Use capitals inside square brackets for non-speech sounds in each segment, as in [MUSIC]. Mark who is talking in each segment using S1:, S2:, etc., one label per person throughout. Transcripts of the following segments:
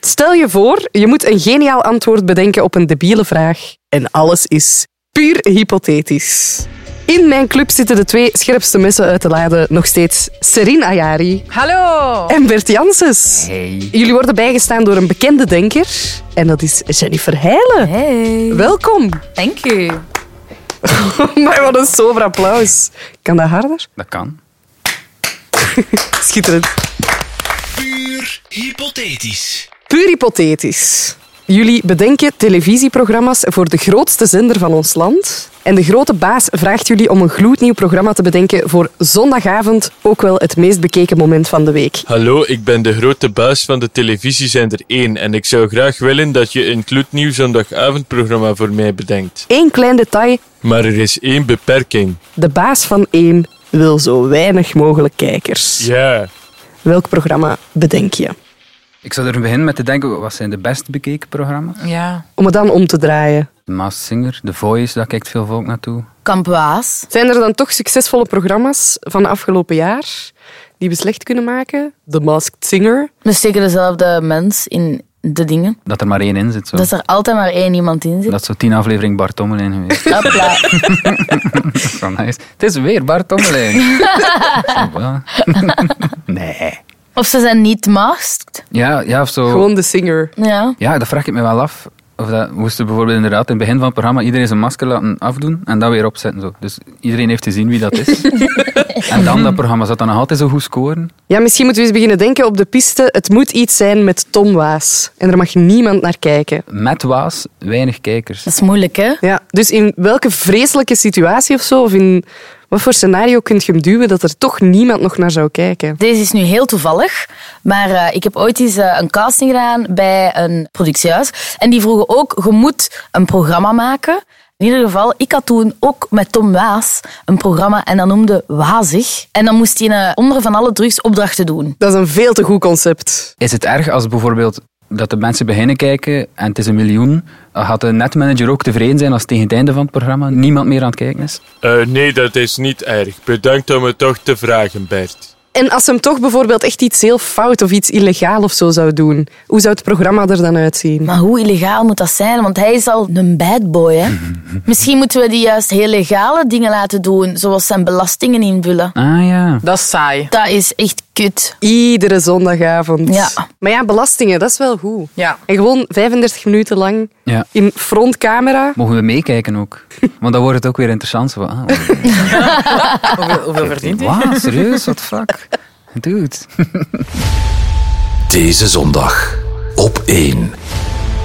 S1: Stel je voor, je moet een geniaal antwoord bedenken op een debiele vraag. En alles is puur hypothetisch. In mijn club zitten de twee scherpste messen uit de lade nog steeds Serine Ayari
S2: Hallo!
S1: en Bert Janssens.
S3: Hey.
S1: Jullie worden bijgestaan door een bekende denker en dat is Jennifer Heijlen.
S2: Hey.
S1: Welkom. [LAUGHS]
S2: Thank you.
S1: Maar wat een sober applaus. Kan dat harder?
S3: Dat kan.
S1: Schitterend.
S4: Puur hypothetisch.
S1: Puur hypothetisch. Jullie bedenken televisieprogramma's voor de grootste zender van ons land. En de grote baas vraagt jullie om een gloednieuw programma te bedenken voor zondagavond, ook wel het meest bekeken moment van de week.
S5: Hallo, ik ben de grote baas van de televisiezender 1 en ik zou graag willen dat je een gloednieuw zondagavondprogramma voor mij bedenkt.
S1: Eén klein detail,
S5: Maar er is één beperking.
S1: de baas van één wil zo weinig mogelijk kijkers.
S5: Ja.
S1: Welk programma bedenk je?
S3: Ik zou er beginnen met te denken, wat zijn de best bekeken programma's?
S2: Ja.
S1: Om het dan om te draaien.
S3: The Masked Singer, The Voice, daar kijkt veel volk naartoe.
S2: Kampuaas.
S1: Zijn er dan toch succesvolle programma's van afgelopen jaar die we slecht kunnen maken? The Masked Singer.
S6: We steken dezelfde mens in de dingen.
S3: Dat er maar één in zit. Zo.
S6: Dat er altijd maar één iemand in zit.
S3: Dat is zo tien aflevering Bart Tommelijn
S6: [LAUGHS]
S3: geweest.
S6: Hopla.
S3: Dat is wel nice. Het is weer Bart Tommelijn. Zo, ja. nee.
S6: Of ze zijn niet masked.
S3: Ja, ja, of zo.
S1: Gewoon de singer.
S6: Ja.
S3: Ja, dat vraag ik me wel af. Of dat moesten bijvoorbeeld inderdaad in het begin van het programma iedereen zijn masker laten afdoen en dat weer opzetten. Zo. Dus iedereen heeft te zien wie dat is. en dan dat programma, zou dat nog altijd zo goed scoren?
S1: Ja, misschien moeten we eens beginnen denken op de piste. Het moet iets zijn met Tom Waas. En er mag niemand naar kijken.
S3: Met Waas, weinig kijkers.
S6: Dat is moeilijk, hè?
S1: Ja, dus in welke vreselijke situatie of zo, of in wat voor scenario kun je hem duwen dat er toch niemand nog naar zou kijken?
S6: Deze is nu heel toevallig, maar eh, ik heb ooit eens eh, een casting gedaan bij een productiehuis. En die vroegen ook, je moet een programma maken. In ieder geval, ik had toen ook met Tom Waas een programma en dat noemde Wazig. En dan moest hij eh, onder van alle drugs opdrachten doen.
S1: Dat is een veel te goed concept.
S3: Is het erg als bijvoorbeeld dat de mensen beginnen kijken en het is een miljoen? Dan gaat de netmanager ook tevreden zijn als tegen het einde van het programma niemand meer aan het kijken is?
S5: Eh, nee, dat is niet erg. Bedankt om het toch te vragen, Bert.
S1: En als ze hem toch bijvoorbeeld echt iets heel fout of iets illegaal of zo zou doen, hoe zou het programma er dan uitzien?
S6: Maar hoe illegaal moet dat zijn? Want hij is al een bad boy, hè? Misschien moeten we die juist heel legale dingen laten doen, zoals zijn belastingen invullen.
S3: Ah ja.
S2: Dat is saai.
S6: Dat is echt kut.
S1: Iedere zondagavond.
S6: Ja.
S1: Maar ja, belastingen, dat is wel goed.
S2: Ja.
S1: En gewoon 35 minuten lang
S3: ja.
S1: in frontcamera.
S3: Mogen we meekijken ook? Want dan wordt het ook weer interessant. Zo, van, ah,
S2: [LAUGHS] Hoeveel, hoeveel verdient hij?
S3: Wauw, serieus? Wat fuck? Dude.
S4: Deze zondag op 1.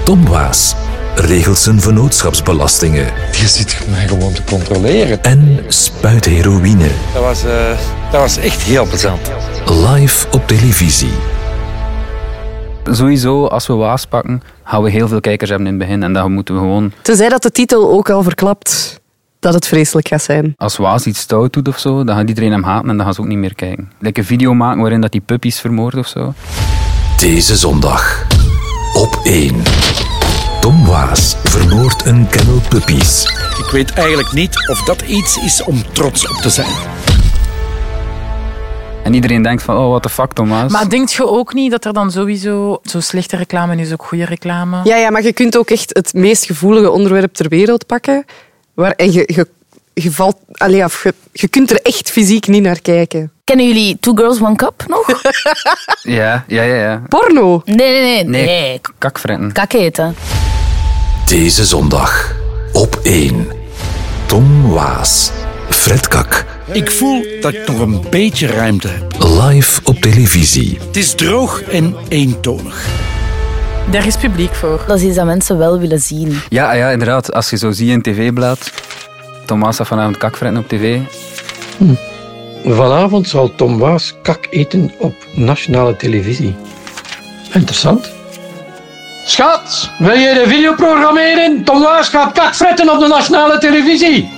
S4: Tom Waas regelt zijn vennootschapsbelastingen
S7: Je zit mij gewoon te controleren.
S4: en spuit heroïne
S7: Dat was, eh, dat was echt heel plezant.
S4: live op televisie.
S3: Sowieso, als we Waas pakken, gaan we heel veel kijkers hebben in het begin. En dan moeten we gewoon,
S1: Tenzij dat de titel ook al verklapt dat het vreselijk gaat zijn.
S3: als Waas iets stout doet of zo, dan gaat iedereen hem haten en dan gaan ze ook niet meer kijken. Lekker een video maken waarin dat die puppies vermoordt of zo.
S4: Deze zondag op 1. Tom Waas vermoordt een kennel puppies.
S7: Ik weet eigenlijk niet of dat iets is om trots op te zijn.
S3: En iedereen denkt van, oh, wat de fuck, Thomas.
S2: Maar denkt je ook niet dat er dan sowieso zo slechte reclame is ook goede reclame?
S1: Ja, ja, maar je kunt ook echt het meest gevoelige onderwerp ter wereld pakken. Waar, en je, je, je, valt, allee, of je, je kunt er echt fysiek niet naar kijken.
S6: Kennen jullie Two Girls, One Cup nog?
S3: Ja, ja, ja. ja.
S1: Porno.
S6: Nee, nee, nee.
S3: Nee.
S6: Nee,
S3: Kakfretten.
S6: kak eten.
S4: Deze zondag op 1. Tom Waas. Fred Kak.
S7: Ik voel dat ik nog een beetje ruimte heb.
S4: Live op televisie.
S7: Het is droog en eentonig.
S2: Daar is publiek voor.
S6: Dat is iets dat mensen wel willen zien.
S3: Ja, ah, ja, inderdaad. Als je zo ziet in tv-blad, Thomas had vanavond kakfretten op tv.
S8: Vanavond zal Tom Waas kak eten op nationale televisie. Interessant. Schat, wil je de video programmeren? Tom Waas gaat kak fretten op de nationale televisie.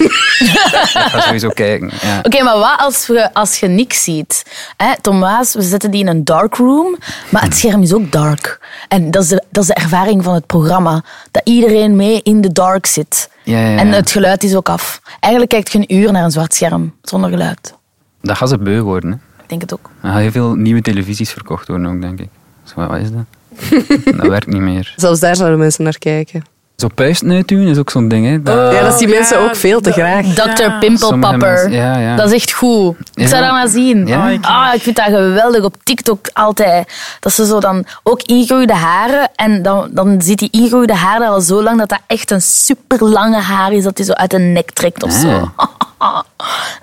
S3: Ik ga sowieso kijken. Ja.
S6: Oké, maar wat als je, als je niks ziet? Hè, Tom Waas, we zetten die in een dark room, maar
S3: Hmm.
S6: het scherm is ook dark. En dat is, de, dat is de ervaring van het programma. Dat iedereen mee in de dark zit.
S3: Ja, ja, ja.
S6: En het geluid is ook af. Eigenlijk kijkt je een uur naar een zwart scherm, zonder geluid.
S3: Dat gaat ze beu worden. Hè.
S6: denk het ook.
S3: Er gaan heel veel nieuwe televisies verkocht worden ook, denk ik. Zo, wat is dat? dat werkt niet meer.
S1: Zelfs daar zouden mensen naar kijken.
S3: Zo puisten uitduwen is ook zo'n ding, hè. Dat-
S1: ja, dat zien
S2: Oh, ja,
S1: mensen ook veel te
S2: dat-
S1: graag.
S6: Dr.
S2: Ja.
S3: sommige
S6: Pimpelpapper.
S3: mensen- Ja, ja.
S6: Dat is echt goed. Ik zou
S3: Ja.
S6: dat maar zien.
S3: Ja.
S2: Oh,
S6: Ah, ik- Ah, ik vind dat geweldig op TikTok altijd. Dat ze zo dan ook ingroeide haren. En dan, dan zit die ingroeide haar er al zo lang dat dat echt een super lange haar is. Dat die zo uit de nek trekt of
S3: Ah.
S6: zo. [LAUGHS] dat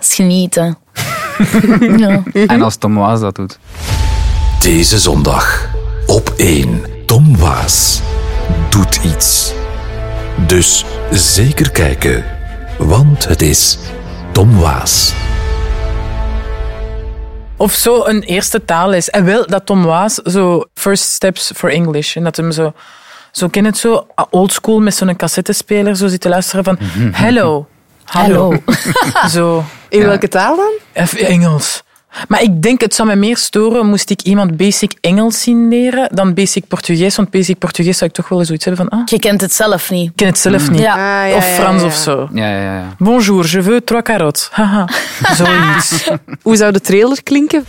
S6: is
S2: [LAUGHS]
S6: genieten. ja.
S3: En als Tom Waas dat doet.
S4: Deze zondag op 1. Tom Waas doet iets. Dus zeker kijken, want het is Tom Waas.
S2: Of zo een eerste taal is. En wel dat Tom Waas zo First Steps for English. En dat hem zo... Zo ken het zo, oldschool, met zo'n cassettespeler zo zit te luisteren
S1: [LAUGHS]
S2: van... Hello. Hallo.
S6: Oh,
S1: Ah.
S2: zo.
S1: In welke taal dan?
S2: Even Engels. Maar ik denk, het zou me meer storen moest ik iemand basic Engels zien leren dan basic Portugees. Want basic Portugees zou ik toch wel eens zoiets hebben van... Ah, ik
S6: Je kent het zelf niet.
S2: ken het zelf niet.
S6: Ja. Oh,
S1: Ah, ja,
S2: of
S1: ja,
S2: Frans
S1: ja.
S2: of zo.
S3: Ja, ja, ja.
S2: Bonjour, je veux trois carottes. [LAUGHS] Haha. Zoiets.
S1: Hoe zou de trailer klinken?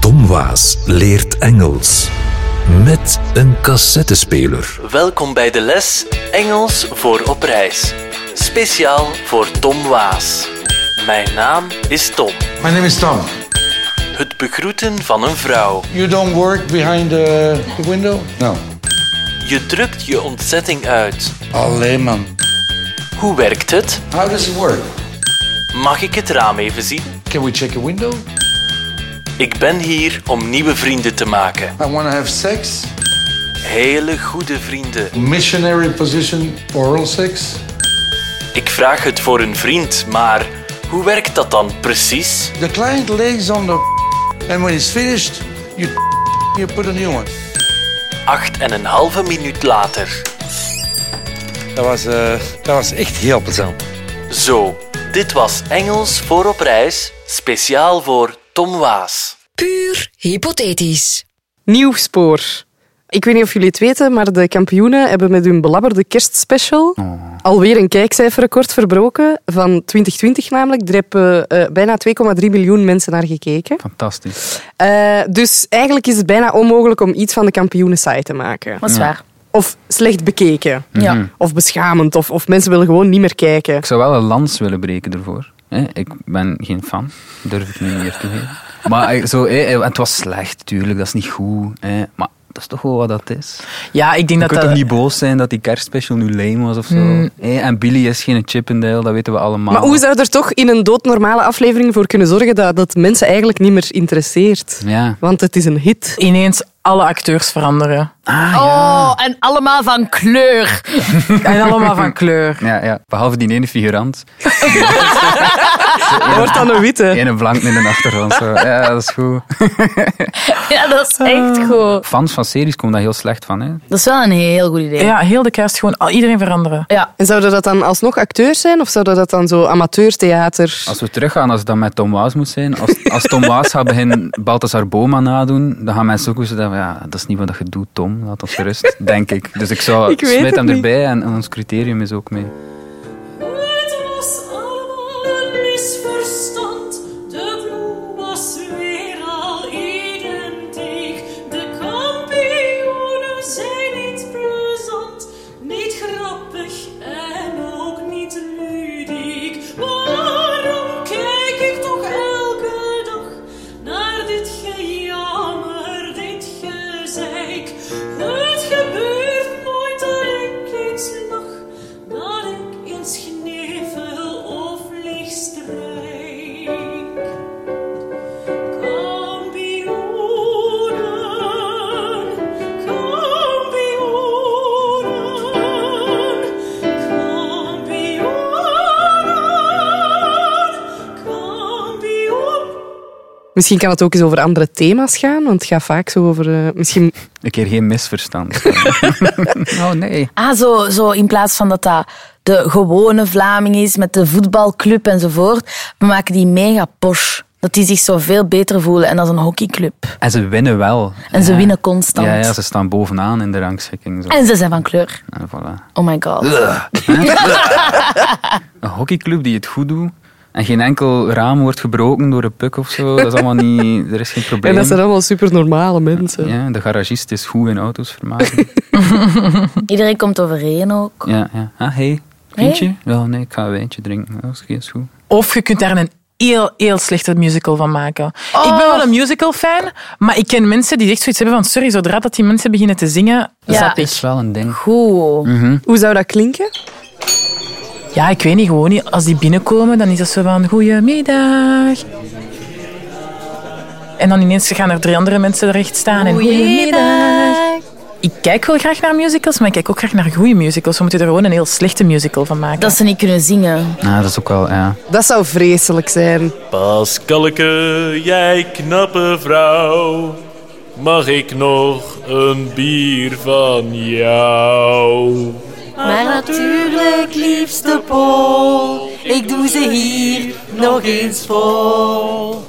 S4: Tom Waas leert Engels met een cassettespeler.
S9: Welkom bij de les Engels voor op reis. Speciaal voor Tom Waas. Mijn naam is Tom.
S10: My name is Tom.
S9: Het begroeten van een vrouw.
S10: You don't work behind the, the window? No.
S9: Je drukt je ontzetting uit.
S10: Allee man.
S9: Hoe werkt het?
S10: How does it work?
S9: Mag ik het raam even zien?
S10: Can we check a window?
S9: Ik ben hier om nieuwe vrienden te maken.
S10: I want to have sex.
S9: Hele goede vrienden.
S10: Missionary position, oral sex.
S9: Ik vraag het voor een vriend, maar hoe werkt dat dan precies?
S10: The client lays on the and when it's finished, you you put a new one.
S9: Acht en een halve minuut later.
S7: Dat was, eh, dat was echt heel plezant.
S9: Zo, dit was Engels voor op reis. Speciaal voor Tom Waas.
S11: Puur hypothetisch.
S1: Nieuw spoor. Ik weet niet of jullie het weten, maar de kampioenen hebben met hun belabberde kerstspecial alweer een kijkcijferrecord verbroken. Van 2020 namelijk. Er hebben eh, bijna 2,3 miljoen mensen naar gekeken.
S3: Fantastisch.
S1: Eh, dus eigenlijk is het bijna onmogelijk om iets van de kampioenen saai te maken.
S6: Dat is waar.
S1: Of slecht bekeken.
S6: Ja.
S3: Mhm.
S1: Of beschamend. Of, of mensen willen gewoon niet meer kijken.
S3: Ik zou wel een lans willen breken ervoor. hè. Ik ben geen fan, durf ik niet meer toegeven. Maar eh, zo, hè, eh, het was slecht, tuurlijk, dat is niet goed. hè. Maar dat is toch wel wat dat is.
S2: Ja, ik denk
S3: Je
S2: dat
S3: kunt
S2: dat...
S3: toch niet boos zijn dat die kerstspecial nu lame was of zo. Hè, en Billy is geen Chippendale, dat weten we allemaal.
S1: Hmm. Maar hoe zou er toch in een doodnormale aflevering voor kunnen zorgen dat dat mensen eigenlijk niet meer interesseert?
S3: Ja.
S1: Want het is een hit.
S2: Ineens alle acteurs veranderen.
S6: Oh, en allemaal van kleur. [LAUGHS]
S2: [LAUGHS] En allemaal van kleur.
S3: Ja, ja. Behalve die ene figurant.
S1: Dat wordt dan een witte.
S3: Ene blank in de achtergrond.
S1: [LAUGHS]
S3: Zo. Ja, dat is goed.
S6: Ja, dat is
S2: Ah.
S6: echt goed.
S3: Fans van series komen daar heel slecht van. Hè.
S6: Dat is wel een heel goed idee.
S2: Ja, heel de kerst gewoon al, iedereen veranderen.
S6: Ja.
S1: En zouden dat dan alsnog acteurs zijn? Of zouden dat dan zo amateurtheater...
S3: Als we teruggaan, als het dan met Tom Waas moet zijn. Als, als Tom Waas gaat beginnen Balthasar Boma nadoen, dan gaan mensen ook weer zo denken, ja, dat is niet wat je doet, Tom. Laat ons gerust, denk ik. Dus ik zou,
S1: [LAUGHS] Ik weet
S3: smijt
S1: het
S3: hem
S1: niet.
S3: erbij en, en ons criterium is ook mee.
S11: Het was allemaal een misverstand. De bloem was weer al identiek. De kampioenen zijn niet plezant, niet grappig en ook niet ludiek. Waarom kijk ik toch elke dag naar dit gejammer, dit gezeik? Het gebeurt nooit dat ik eens lach, dat ik eens knevel of licht strijk. Kampioenen, kampioenen, kampioenen, kampioen.
S1: Misschien kan het ook eens over andere thema's gaan. Want het gaat vaak zo over... eh, misschien...
S3: Een keer geen
S1: [LAUGHS]
S3: misverstand. [LAUGHS] oh nee.
S6: Ah, zo, zo in plaats van dat dat de gewone Vlaming is met de voetbalclub enzovoort, we maken die mega posh. Dat die zich zo veel beter voelen en dat is een hockeyclub.
S3: En ze winnen wel.
S6: En ze
S3: Ja.
S6: winnen constant.
S3: Ja, ja, ze staan bovenaan in de rangschikking. Zo.
S6: En ze zijn van kleur.
S3: En voilà.
S6: Oh my god.
S3: Een hockeyclub die het goed doet, En geen enkel raam wordt gebroken door een puk of zo. Dat is allemaal niet... Er is geen probleem.
S1: En dat zijn allemaal super normale mensen.
S3: Ja, de garagist is goed in auto's vermaken.
S6: Iedereen komt overeen ook.
S3: ja, ja. Ah, hey. Eentje? Wel, nee, ik ga een wijntje drinken. Dat is- is goed.
S2: Of je kunt daar een heel, heel slechte musical van maken. Ik ben wel een musical-fan, maar ik ken mensen die echt zoiets hebben van sorry, zodra dat die mensen beginnen te zingen,
S3: Ja. Mhm.
S2: zat ik.
S3: Dat is wel een ding.
S6: Goed.
S1: Hoe zou dat klinken?
S2: Ja, ik weet niet, gewoon niet. Als die binnenkomen, dan is dat zo van goedemiddag. En dan ineens gaan er drie andere mensen recht staan en goedemiddag. Ik kijk wel graag naar musicals, maar ik kijk ook graag naar goede musicals. We moeten er gewoon een heel slechte musical van maken.
S6: Dat ze niet kunnen zingen.
S3: Ja, Nou, dat is ook wel, ja.
S1: Dat zou vreselijk zijn.
S5: Pascalke, jij knappe vrouw, mag ik nog een bier van jou?
S11: Maar natuurlijk, liefste Paul, ik doe ze hier nog eens vol.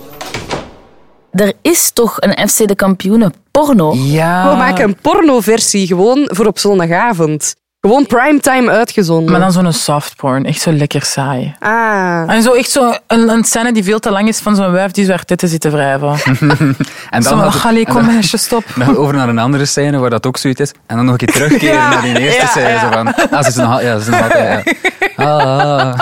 S6: Er is toch een FC de kampioenen porno?
S3: Ja.
S1: We maken een pornoversie gewoon voor op zondagavond. Gewoon primetime uitgezonden.
S2: Maar dan zo'n soft porn, echt zo lekker saai.
S1: Ah.
S2: En zo echt zo een, een scène die veel te lang is van zo'n wijf die zo haar titten zit te wrijven.
S3: En
S2: Zo,
S3: had
S2: ach,
S3: het-
S2: allee,
S3: en
S2: kom
S3: dan-
S2: meisje, stop.
S3: [LAUGHS] Dan over naar een andere scène waar dat ook zoiets is. En dan nog een keer terugkeren
S2: Ja,
S3: naar die eerste
S2: ja,
S3: scène.
S2: ja.
S3: Zo van, ah, ze is nog al- ja, ze is nog altijd... Ja. Ah, ah.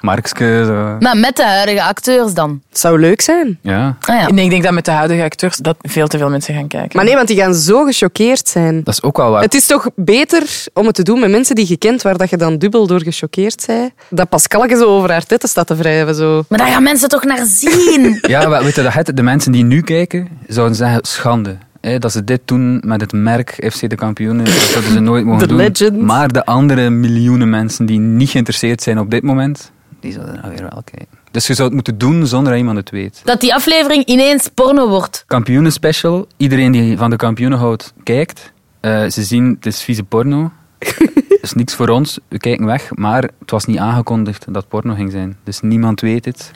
S3: Markske, zo.
S6: Maar met de huidige acteurs dan.
S1: Het zou leuk zijn.
S3: Ja,
S6: Ah ja.
S2: Nee, ik denk dat met de huidige acteurs dat veel te veel mensen gaan kijken.
S1: Maar nee, want die gaan zo gechoqueerd zijn.
S3: dat is ook wel waar.
S1: Het is toch beter om het te doen met mensen die je kent, waar dat je dan dubbel door gechoqueerd bent, dat Pascalke zo over haar titten staat te wrijven. Zo.
S6: Maar daar gaan mensen toch naar [LAUGHS] zien?
S3: Ja, maar weet je, dat het- de mensen die nu kijken, zouden zeggen, schande. Hè, dat ze dit doen met het merk FC de kampioenen, dat zouden ze nooit mogen
S1: The
S3: doen.
S1: legend.
S3: Maar de andere miljoenen mensen die niet geïnteresseerd zijn op dit moment, die zouden dan weer wel kijken. Dus je zou het moeten doen zonder dat iemand het weet.
S6: Dat die aflevering ineens porno wordt.
S3: Kampioenen special, iedereen die van de kampioenen houdt, kijkt. Eh, ze zien, het is vieze
S6: [LAUGHS]
S3: porno. Het is niks voor ons, we kijken weg. Maar het was niet aangekondigd dat het porno ging zijn. Dus niemand weet het.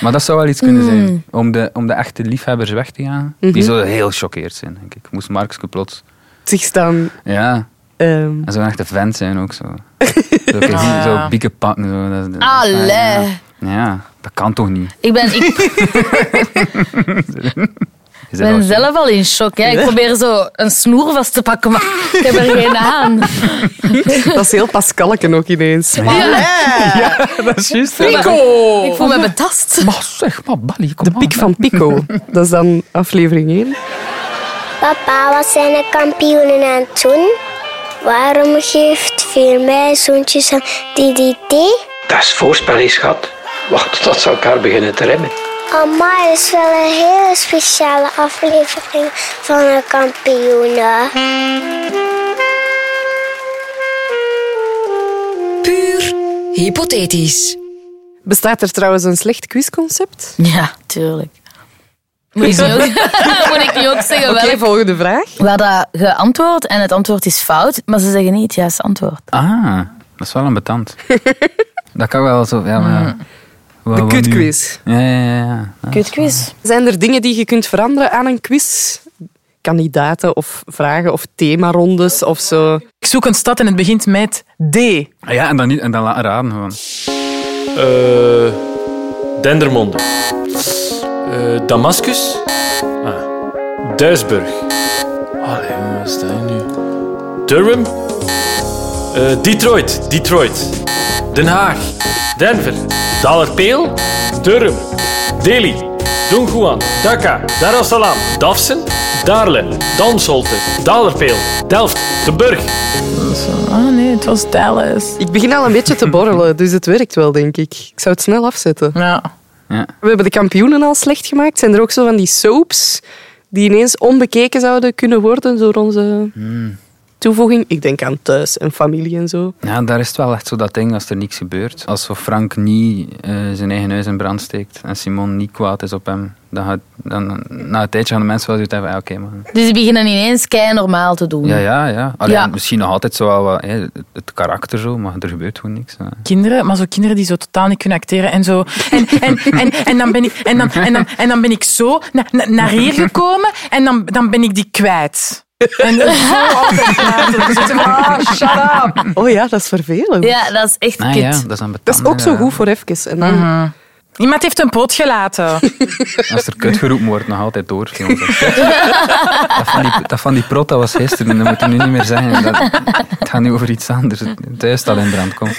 S3: Maar dat zou wel iets kunnen
S6: Mm.
S3: zijn. Om de, om de echte liefhebbers weg te gaan.
S1: Mhm.
S3: Die zouden heel choqueerd zijn, denk ik. Moest Markske plots...
S1: Zich staan.
S3: Ja,
S1: ehm,
S3: en zo'n echte vent zijn ook
S6: [LAUGHS]
S3: zo. Zo, kijk,
S2: Ah.
S3: zo bieken pakken. Zo. Dat- dat-
S6: Allee.
S3: Ah, Ja, dat kan toch niet?
S6: Ik ben, ik
S3: Je bent al
S6: ben
S3: zo-
S6: zelf al in shock. Hè. Ik probeer zo een snoer vast te pakken, maar ik heb er geen aan.
S3: [LAUGHS]
S1: dat is heel Pascalke ook ineens.
S3: Dat is juist.
S1: Pico!
S6: Ik voel
S3: [LAUGHS]
S6: me betast.
S3: Maar zeg maar, Bali, kom
S1: De piek van Pico. Dat is dan aflevering 1.
S12: Papa, wat zijn de kampioenen aan het doen? Waarom geeft veel mij zoontjes aan DDT?
S8: Dat is voorspel, hè, schat. Wacht tot ze elkaar beginnen te remmen.
S12: Amai, dat is wel een hele speciale aflevering van de kampioenen.
S13: Puur hypothetisch.
S1: Bestaat er trouwens een slecht quizconcept?
S6: Ja, tuurlijk. Moet ik nu ook, [LAUGHS] moet ik nu ook zeggen
S1: Oké,
S6: welk-
S1: volgende vraag.
S6: waar dat geantwoord en het antwoord is fout, maar ze zeggen niet het juiste antwoord.
S3: Ah, dat is wel een betand. dat kan wel zo. Ja, maar, ja. Wat-
S1: De
S3: wat nu?
S1: kutquiz.
S3: Ja, ja, ja, ja. ja.
S6: Kutquiz.
S1: Zijn er dingen die je kunt veranderen aan een quiz? Kandidaten of vragen of themarondes of zo.
S2: Ik zoek een stad en het begint met D.
S3: Ah ja, en dan, niet, en dan la- raden gewoon.
S5: Eh Dendermonde. Eh Damascus. Ah. Duisburg. Allee, wat is dat nu? Durham. Eh, Detroit. Detroit. Den Haag. Denver. Dalerpeel. Durham. Delhi. Dongguan. Dhaka. Dar es Salaam. Dafsen. Daarle. Damsholte. Dalerpeel. Delft. De Burg.
S2: Ah nee, het was Dallas.
S1: Ik begin al een beetje te borrelen, dus het werkt wel, denk ik. Ik zou het snel afzetten.
S2: Ja.
S1: We hebben de kampioenen al slecht gemaakt. Zijn er ook zo van die soaps die ineens onbekeken zouden kunnen worden door onze toevoeging? Ik denk aan thuis en familie en zo.
S3: Ja, daar is het wel echt zo dat ding als er niks gebeurt. Als zo Frank niet eh, zijn eigen huis in brand steekt en Simon niet kwaad is op hem, dan gaat, dan, na een tijdje gaan de mensen wel zoiets hebben. Ja, oké, man.
S6: Dus die beginnen ineens kei normaal te doen.
S3: Ja, ja, ja. Allee,
S6: Ja.
S3: Misschien nog altijd zo wel wat, hè, het karakter zo, maar er gebeurt gewoon niks. hè.
S2: Kinderen, maar zo kinderen die zo totaal niet kunnen acteren en zo. En, en, en, en, dan, ben ik, en, dan, en, dan, en dan ben ik zo na- na- naar hier gekomen en dan, dan ben ik die kwijt. En zo altijd praten. Dan zitten we, ah, shut up.
S1: Oh ja, dat is vervelend.
S6: Ja, dat is echt
S3: Ah,
S6: kut.
S3: ja, dat is aan
S2: Mhm.
S1: Dat is ook zo goed voor even. En dan,
S2: Iemand heeft een pot gelaten.
S3: Als er kut geroepen wordt, nog altijd door. jongens. Dat van, die, dat van die prot, dat was gisteren. Dat moet je nu niet meer zeggen. Dat, het gaat nu over iets anders. Het huis dat in brand komt.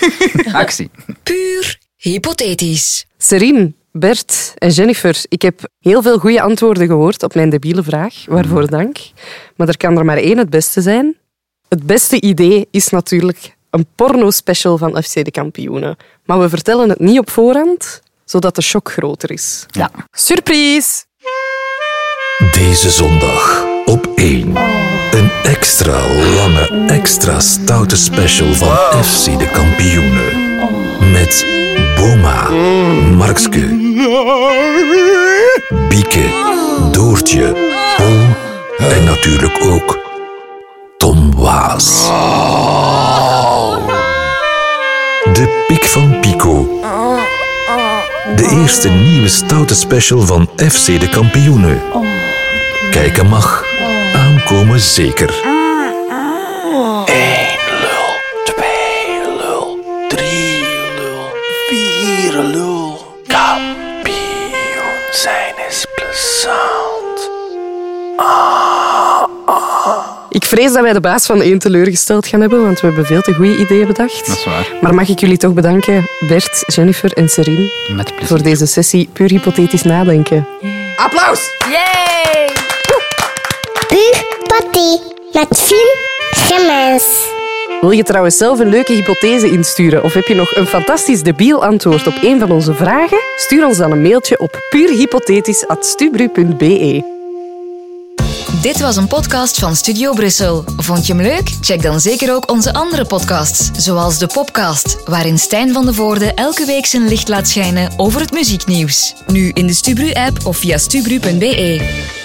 S3: Actie.
S13: Puur hypothetisch.
S1: Serine, Bert en Jennifer, ik heb heel veel goede antwoorden gehoord op mijn debiele vraag. Waarvoor
S3: Mhm.
S1: dank. Maar er kan er maar één het beste zijn. Het beste idee is natuurlijk een porno-special van FC de Kampioenen. Maar we vertellen het niet op voorhand, zodat de shock groter is.
S6: Ja.
S1: Surprise!
S4: Deze zondag op 1. Een extra lange, extra stoute special van FC de Kampioenen. Met Boma, Markske, Bieke, Doortje, Paul en natuurlijk ook Tom Waas. De Pik van Pico. De eerste nieuwe stoute special van FC de Kampioenen. Kijken mag. Aankomen zeker.
S9: Vier lul. Kampioen zijn is plezant.
S1: Ik vrees dat wij de baas van één teleurgesteld gaan hebben, want we hebben veel te goede ideeën bedacht.
S3: Dat is waar.
S1: Maar mag ik jullie toch bedanken, Bert, Jennifer en Serine,
S3: Met plezier.
S1: voor deze sessie puur hypothetisch nadenken.
S12: Applaus! Yay! Puur potty met Fien Gemmers.
S1: Wil je trouwens zelf een leuke hypothese insturen of heb je nog een fantastisch debiel antwoord op een van onze vragen? Stuur ons dan een mailtje op puurhypothetisch.stubru.be.
S13: Dit was een podcast van Studio Brussel. Vond je hem leuk? Check dan zeker ook onze andere podcasts, zoals de Popcast, waarin Stijn van de Voorde elke week zijn licht laat schijnen over het muzieknieuws. Nu in de Stubru-app of via stubru.be.